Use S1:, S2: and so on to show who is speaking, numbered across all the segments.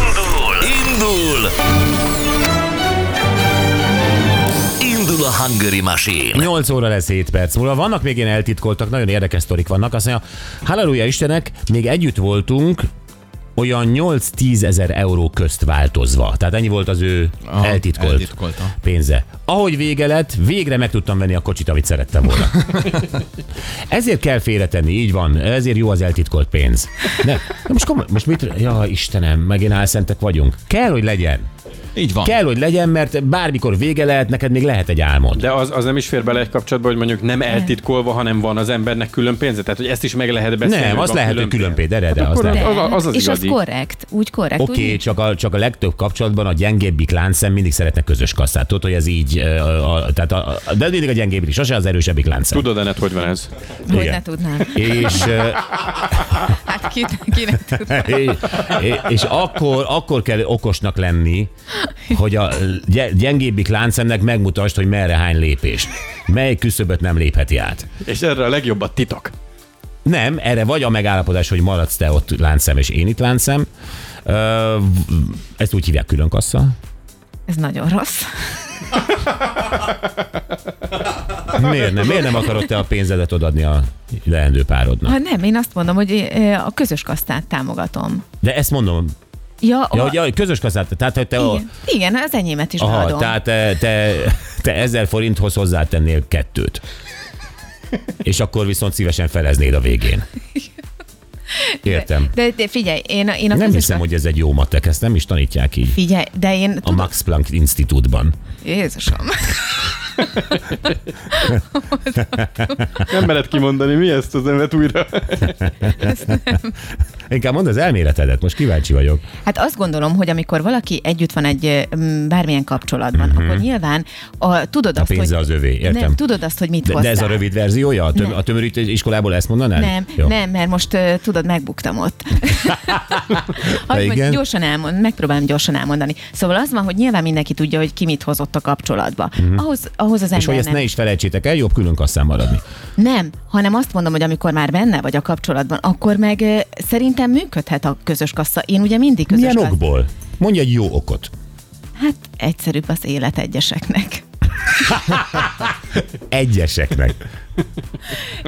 S1: Indul! Indul! Indul a Hungary Machine!
S2: 8 óra lesz 7 perc múlva. Vannak még ilyen eltitkoltak, nagyon érdekes sztorik vannak. Azt mondja, halleluja Istenek, még együtt voltunk, olyan 8-10 ezer euró közt változva. Tehát ennyi volt az ő
S3: Aha,
S2: eltitkolt
S3: eltitkolta.
S2: pénze. Ahogy vége lett, végre meg tudtam venni a kocsit, amit szerettem volna. Ezért kell félretenni, így van. Ezért jó az eltitkolt pénz. Ne, de most, komoly, most mit? Ja, Istenem, megint álszentek vagyunk. Kell, hogy legyen.
S3: Így van.
S2: Kell, hogy legyen, mert bármikor vége lehet, neked még lehet egy álmod.
S4: De az, az nem is fér bele egy kapcsolatba, hogy mondjuk nem eltitkolva, hanem van az embernek külön pénze. Tehát, hogy ezt is meg lehet beszélni.
S2: Nem, az
S4: van
S2: lehet, hogy külön pénz, de, de, az
S4: Hát Akkor
S2: lehet.
S4: az, az, az, az
S5: és
S4: igazi.
S5: az korrekt, úgy korrekt.
S2: Oké, okay,
S5: úgy,
S2: csak, a, csak a legtöbb kapcsolatban a gyengébbik láncszem mindig szeretne közös kasszát. Tudod, hogy ez így, ö, a, a, tehát a, a- de mindig a gyengébbik, sose az erősebbik láncszem.
S4: Tudod, Enet, hogy van ez?
S5: hogy
S2: igen.
S5: ne tudnám.
S2: És, ö,
S5: Hát ki, ki ne tudná.
S2: é- é- és akkor, akkor kell okosnak lenni, hogy a gy- gyengébbik láncszemnek megmutasd, hogy merre hány lépés. Mely küszöböt nem lépheti át.
S4: És erre a legjobb a titok.
S2: Nem, erre vagy a megállapodás, hogy maradsz te ott láncszem, és én itt láncszem. Ö, v- Ezt úgy hívják külön kassa.
S5: Ez nagyon rossz.
S2: Miért nem? Miért nem akarod te a pénzedet odaadni a leendő párodnak?
S5: Ha nem, én azt mondom, hogy ö, a közös kasztát támogatom.
S2: De ezt mondom,
S5: Ja,
S2: ja,
S5: a-
S2: hogy, ja, hogy közös kasszát, tehát hogy te, a,
S5: igen, igen, az enyémet is
S2: aha,
S5: beadom.
S2: tehát te, te, te ezer forinthoz hozzátennél kettőt. És akkor viszont szívesen feleznéd a végén. Értem.
S5: De, de figyelj, én, a- én a
S2: Nem
S5: közös
S2: hiszem,
S5: kasztát-
S2: hogy ez egy jó matek, ezt nem is tanítják így.
S5: Figyelj, de én...
S2: A Max Planck Institútban.
S5: Jézusom.
S4: Nem mered kimondani, mi ezt az nevet újra?
S2: Inkább mondd az elméletedet, most kíváncsi vagyok.
S5: Hát azt gondolom, hogy amikor valaki együtt van egy m, bármilyen kapcsolatban, uh-huh. akkor nyilván a, tudod
S2: Mhm. A
S5: azt,
S2: pénze
S5: hogy...
S2: az övé, értem.
S5: Nem, tudod azt, hogy mit
S2: De,
S5: hoztál.
S2: de ez a rövid verziója? A, töm,
S5: Nem.
S2: a tömörítő iskolából ezt mondanád?
S5: Nem,
S2: Jó.
S5: nem, mert most ö, tudod, megbuktam ott. Hogy
S2: igen?
S5: mondj, gyorsan elmond, megpróbálom gyorsan elmondani. Szóval az van, hogy nyilván mindenki tudja, hogy ki mit hozott a kapcsolatba. Ahhoz, ahhoz az
S2: Mhm. És
S5: ember
S2: hogy ezt
S5: nem.
S2: ne is felejtsétek el, jobb külön kasszán maradni.
S5: nem, hanem azt mondom, hogy amikor már benne vagy a kapcsolatban, akkor meg ö, szerintem működhet a közös kassa. Én ugye mindig közös
S2: Milyen
S5: kassz-
S2: okból? Mondj egy jó okot.
S5: Hát egyszerűbb az élet egyeseknek.
S2: Egyeseknek.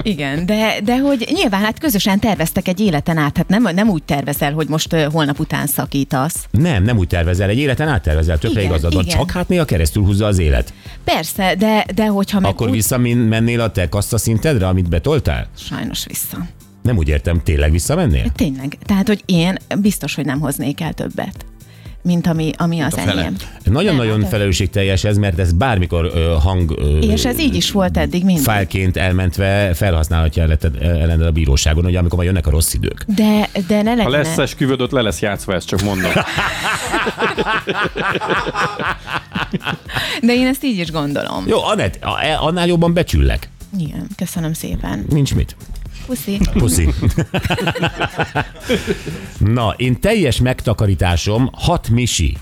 S5: Igen, de, de hogy nyilván hát közösen terveztek egy életen át, hát nem, nem úgy tervezel, hogy most ö, holnap után szakítasz.
S2: Nem, nem úgy tervezel, egy életen áttervezel, tökre
S5: Igen,
S2: igazad van,
S5: igen.
S2: csak hát néha keresztül húzza az élet.
S5: Persze, de, de hogyha meg
S2: Akkor
S5: úgy...
S2: visszamennél a te kassza szintedre, amit betoltál?
S5: Sajnos vissza.
S2: Nem úgy értem, tényleg visszamennél?
S5: Tényleg. Tehát, hogy én biztos, hogy nem hoznék el többet, mint ami, ami az
S3: fele.
S5: enyém.
S2: Nagyon-nagyon
S5: Nem, hát-
S2: felelősségteljes ez, mert ez bármikor ö, hang ö,
S5: És ez így is volt eddig mindig.
S2: fájlként elmentve felhasználhatja elleted- ellened a bíróságon, hogy amikor majd jönnek a rossz idők.
S5: De, de ne
S4: Ha
S5: legyne.
S4: lesz esküvöd, ott le lesz játszva, ezt csak mondom.
S5: De én ezt így is gondolom.
S2: Jó, Anett, a- e- annál jobban becsüllek.
S5: Igen, köszönöm szépen.
S2: Nincs mit.
S5: Puszi.
S2: Puszi. Na, én teljes megtakarításom hat misi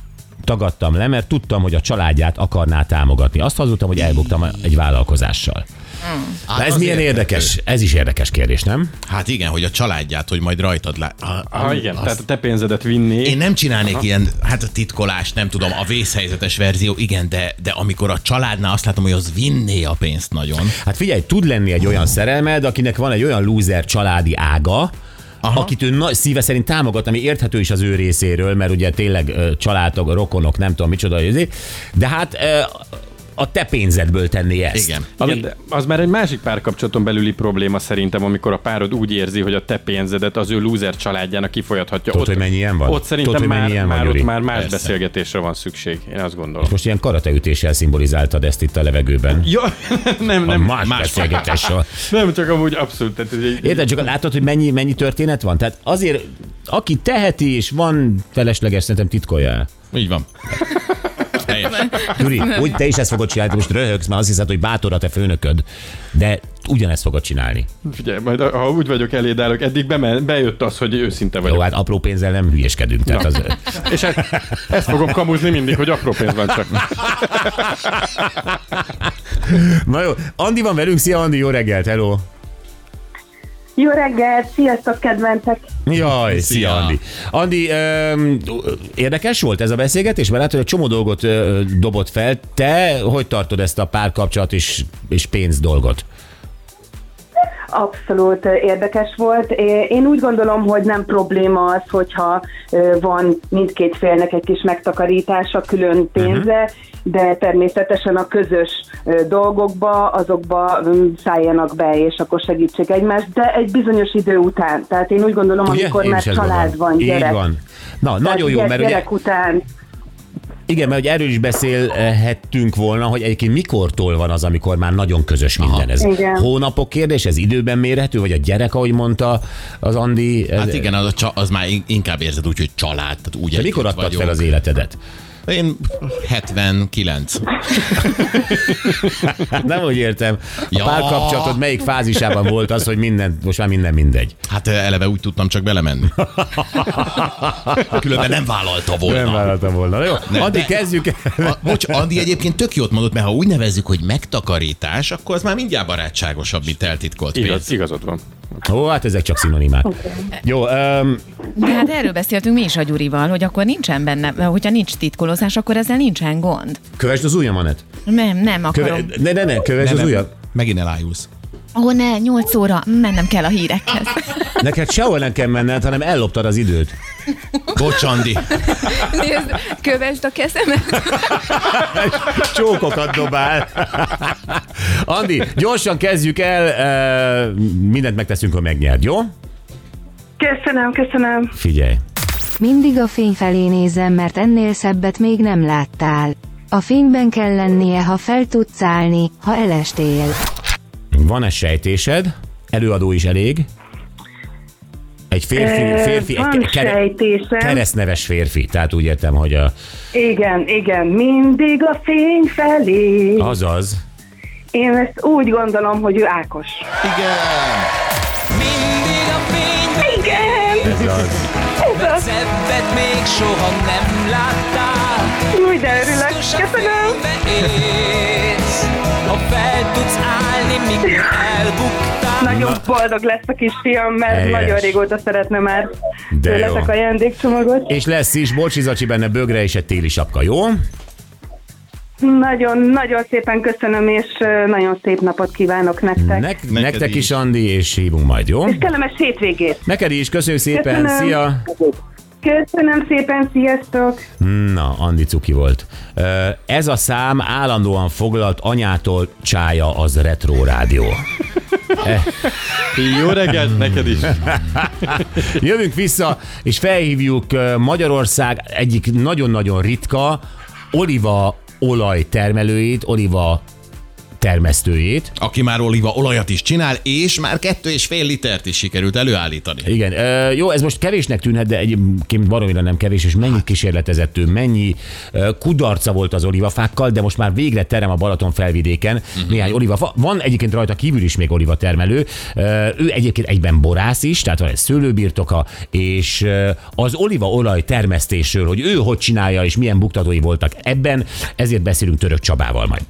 S2: tagadtam le, mert tudtam, hogy a családját akarná támogatni. Azt hazudtam, hogy elbuktam egy vállalkozással.
S3: Hát
S2: Na ez
S3: az
S2: milyen
S3: érthető.
S2: érdekes? Ez is érdekes kérdés, nem?
S3: Hát igen, hogy a családját, hogy majd rajtad lá... Ah,
S4: Ha igen, tehát a te pénzedet vinni.
S3: Én nem csinálnék ilyen, hát a titkolás, nem tudom, a vészhelyzetes verzió, igen, de, de amikor a családnál azt látom, hogy az vinné a pénzt nagyon.
S2: Hát figyelj, tud lenni egy olyan szerelmed, akinek van egy olyan lúzer családi ága, Aha. akit ő nagy szíve szerint támogat, ami érthető is az ő részéről, mert ugye tényleg ö, családtag, rokonok, nem tudom micsoda, ezért. de hát ö, a te pénzedből tenni ezt.
S3: Igen.
S4: Igen, de az már egy másik párkapcsolaton belüli probléma szerintem, amikor a párod úgy érzi, hogy a te pénzedet az ő lúzer családjának kifolyathatja.
S2: Tudod, hogy mennyi ilyen van?
S4: Ott szerintem
S2: Tudod, hogy
S4: már,
S2: mennyi ilyen van,
S4: már,
S2: Gyuri?
S4: ott már más
S3: Persze.
S4: beszélgetésre van szükség, én azt gondolom.
S2: Most ilyen karateütéssel szimbolizáltad ezt itt a levegőben.
S4: Ja, nem,
S2: Nem,
S4: nem,
S2: más, más beszélgetéssel.
S4: nem, csak amúgy abszolút. Tehát ez egy,
S2: Érted, csak látod, hogy mennyi, mennyi történet van? Tehát azért, aki teheti és van felesleges, szerintem titkolja el.
S3: Így van. Helyes.
S2: Gyuri, úgy te is ezt fogod csinálni, most röhögsz, mert azt hiszed, hogy bátor a te főnököd, de ugyanezt fogod csinálni.
S4: figyelj, majd ha úgy vagyok eléd állok, eddig beme, bejött az, hogy őszinte vagyok.
S2: Jó, hát apró pénzzel nem hülyeskedünk. Tehát az,
S4: És ezt, ezt fogom kamuzni mindig, hogy apró pénz van csak.
S2: na jó, Andi van velünk, szia Andi, jó reggelt, hello!
S6: Jó reggelt, sziasztok kedvencek!
S2: Jaj, szia,
S3: Szia.
S2: Andi. Andi, öm, érdekes volt ez a beszélgetés, mert látod, hogy egy csomó dolgot ö, dobott fel. Te hogy tartod ezt a párkapcsolat és, és pénz dolgot?
S6: Abszolút ö, érdekes volt. É- Én úgy gondolom, hogy nem probléma az, hogyha ö, van mindkét félnek egy kis megtakarítása,
S2: Mhm.
S6: külön pénze, de természetesen a közös ö, dolgokba, azokba ö, szálljanak be, és akkor segítsék egymást, de egy bizonyos idő után. Tehát én úgy gondolom,
S2: Ugye?
S6: amikor
S2: Én
S6: már
S2: is ezt
S6: család
S2: gondolom.
S6: van, gyerek.
S2: Így van. Na,
S6: Tehát
S2: nagyon jó,
S6: gyere-
S2: mert ugye,
S6: gyerek után
S2: igen, mert ugye erről is beszélhettünk volna, hogy egyébként mikortól van az, amikor már nagyon közös minden ez.
S6: Igen.
S2: Hónapok kérdés, ez időben mérhető, vagy a gyerek, ahogy mondta az Andi? Ez,
S3: Hát igen, az, a csa, az már in- inkább érzed úgy, hogy család. Tehát úgy
S2: Te
S3: együtt
S2: mikor adtad
S3: vagyunk.
S2: fel az életedet?
S3: Én 79.
S2: Hát nem úgy értem. A
S3: Ja.
S2: párkapcsolatod melyik fázisában volt az, hogy minden, most már minden mindegy?
S3: Hát eleve úgy tudtam csak belemenni. Különben nem vállalta volna.
S2: Nem vállaltam volna. Na Jó,
S3: Nem,
S2: addig
S3: de-
S2: kezdjük el.
S3: A, bocs, Andi egyébként tök jót mondott, mert ha úgy nevezzük, hogy megtakarítás, akkor az már mindjárt barátságosabb, mint eltitkolt pénz.
S4: Igaz, igazod van.
S2: Ó, hát ezek csak szinonimák. Jó, öm,
S5: De hát erről beszéltünk mi is a Gyurival, hogy akkor nincsen benne, hogyha nincs titkolózás, akkor ezzel nincsen gond.
S2: kövesd az ujjamanet.
S5: Nem, nem akarom.
S2: Köve...
S5: Köve...
S2: Ne, ne, ne, kövesd
S3: Nem,
S2: az
S3: nem,
S2: ujjam.
S3: Megint elájulsz.
S5: Ó, ne, 8 óra, mennem kell a hírekhez.
S2: Neked sehol nem kell menned, hanem elloptad az időt.
S3: Bocs, Andi.
S5: Nézd, kövesd a kezemet.
S2: Csókokat dobál. Andi, gyorsan kezdjük el. ö, Mindent megteszünk, hogy megnyerd, jó?
S6: Köszönöm, köszönöm.
S2: Figyelj.
S7: Mindig a fény felé nézem, mert ennél szebbet még nem láttál. A fényben kell lennie, ha fel tudsz állni, ha elestél.
S2: Van-e sejtésed? Előadó is elég. Egy férfi, férfi
S6: van
S2: egy
S6: sejtésem.
S2: keresztneves férfi, tehát úgy értem, hogy a,
S6: Igen, igen, mindig a fény felé.
S2: azaz.
S6: Én ezt úgy gondolom, hogy ő Ákos.
S3: Igen.
S8: Mindig a fényben
S6: Igen,
S2: Ez az.
S6: ez az.
S8: szebbet még soha nem láttál
S6: Új, de örülök.
S8: Biztos a
S6: Köszönöm.
S8: fénybe érsz Ha fel tudsz állni, mikor elbuktál
S6: Nagyon boldog lesz a kisfiam, mert
S2: Helyes.
S6: nagyon régóta szeretne már
S2: De jó.
S6: tőletek ajándékcsomagot.
S2: És lesz is bocsizacsi benne bögre és egy téli sapka, jó?
S6: Nagyon-nagyon szépen köszönöm, és ö, nagyon szép napot kívánok nektek.
S2: Nek,
S3: Neked
S2: nektek
S3: is.
S2: is, Andi, és hívunk majd, jó?
S6: És kellemes hétvégét.
S2: Neked is, köszönjük szépen,
S6: Köszönöm.
S2: szia!
S6: Köszönöm szépen, sziasztok!
S2: Na, Andi cuki volt. Ö, Ez a szám állandóan foglalt anyától csája az Retro Rádió.
S4: Jó reggelt neked is.
S2: Jövünk vissza, és felhívjuk ö, Magyarország egyik nagyon-nagyon ritka oliva olaj termelőjét, oliva termesztőjét.
S3: Aki már oliva olajat is csinál, és már kettő és fél litert is sikerült előállítani.
S2: Igen, ö, jó, ez most kevésnek tűnhet, de egyébként baromira nem kevés, és mennyi kísérletezett ő, mennyi ö, kudarca volt az olivafákkal, de most már végre terem a Balaton felvidéken uh-huh. néhány olivafa. Van egyébként rajta kívül is még olivatermelő, ö, ő egyébként egyben borász is, tehát van egy szőlőbirtoka, és ö, az olívaolaj termesztésről, hogy ő hogy csinálja, és milyen buktatói voltak ebben, ezért beszélünk Török Csabával majd.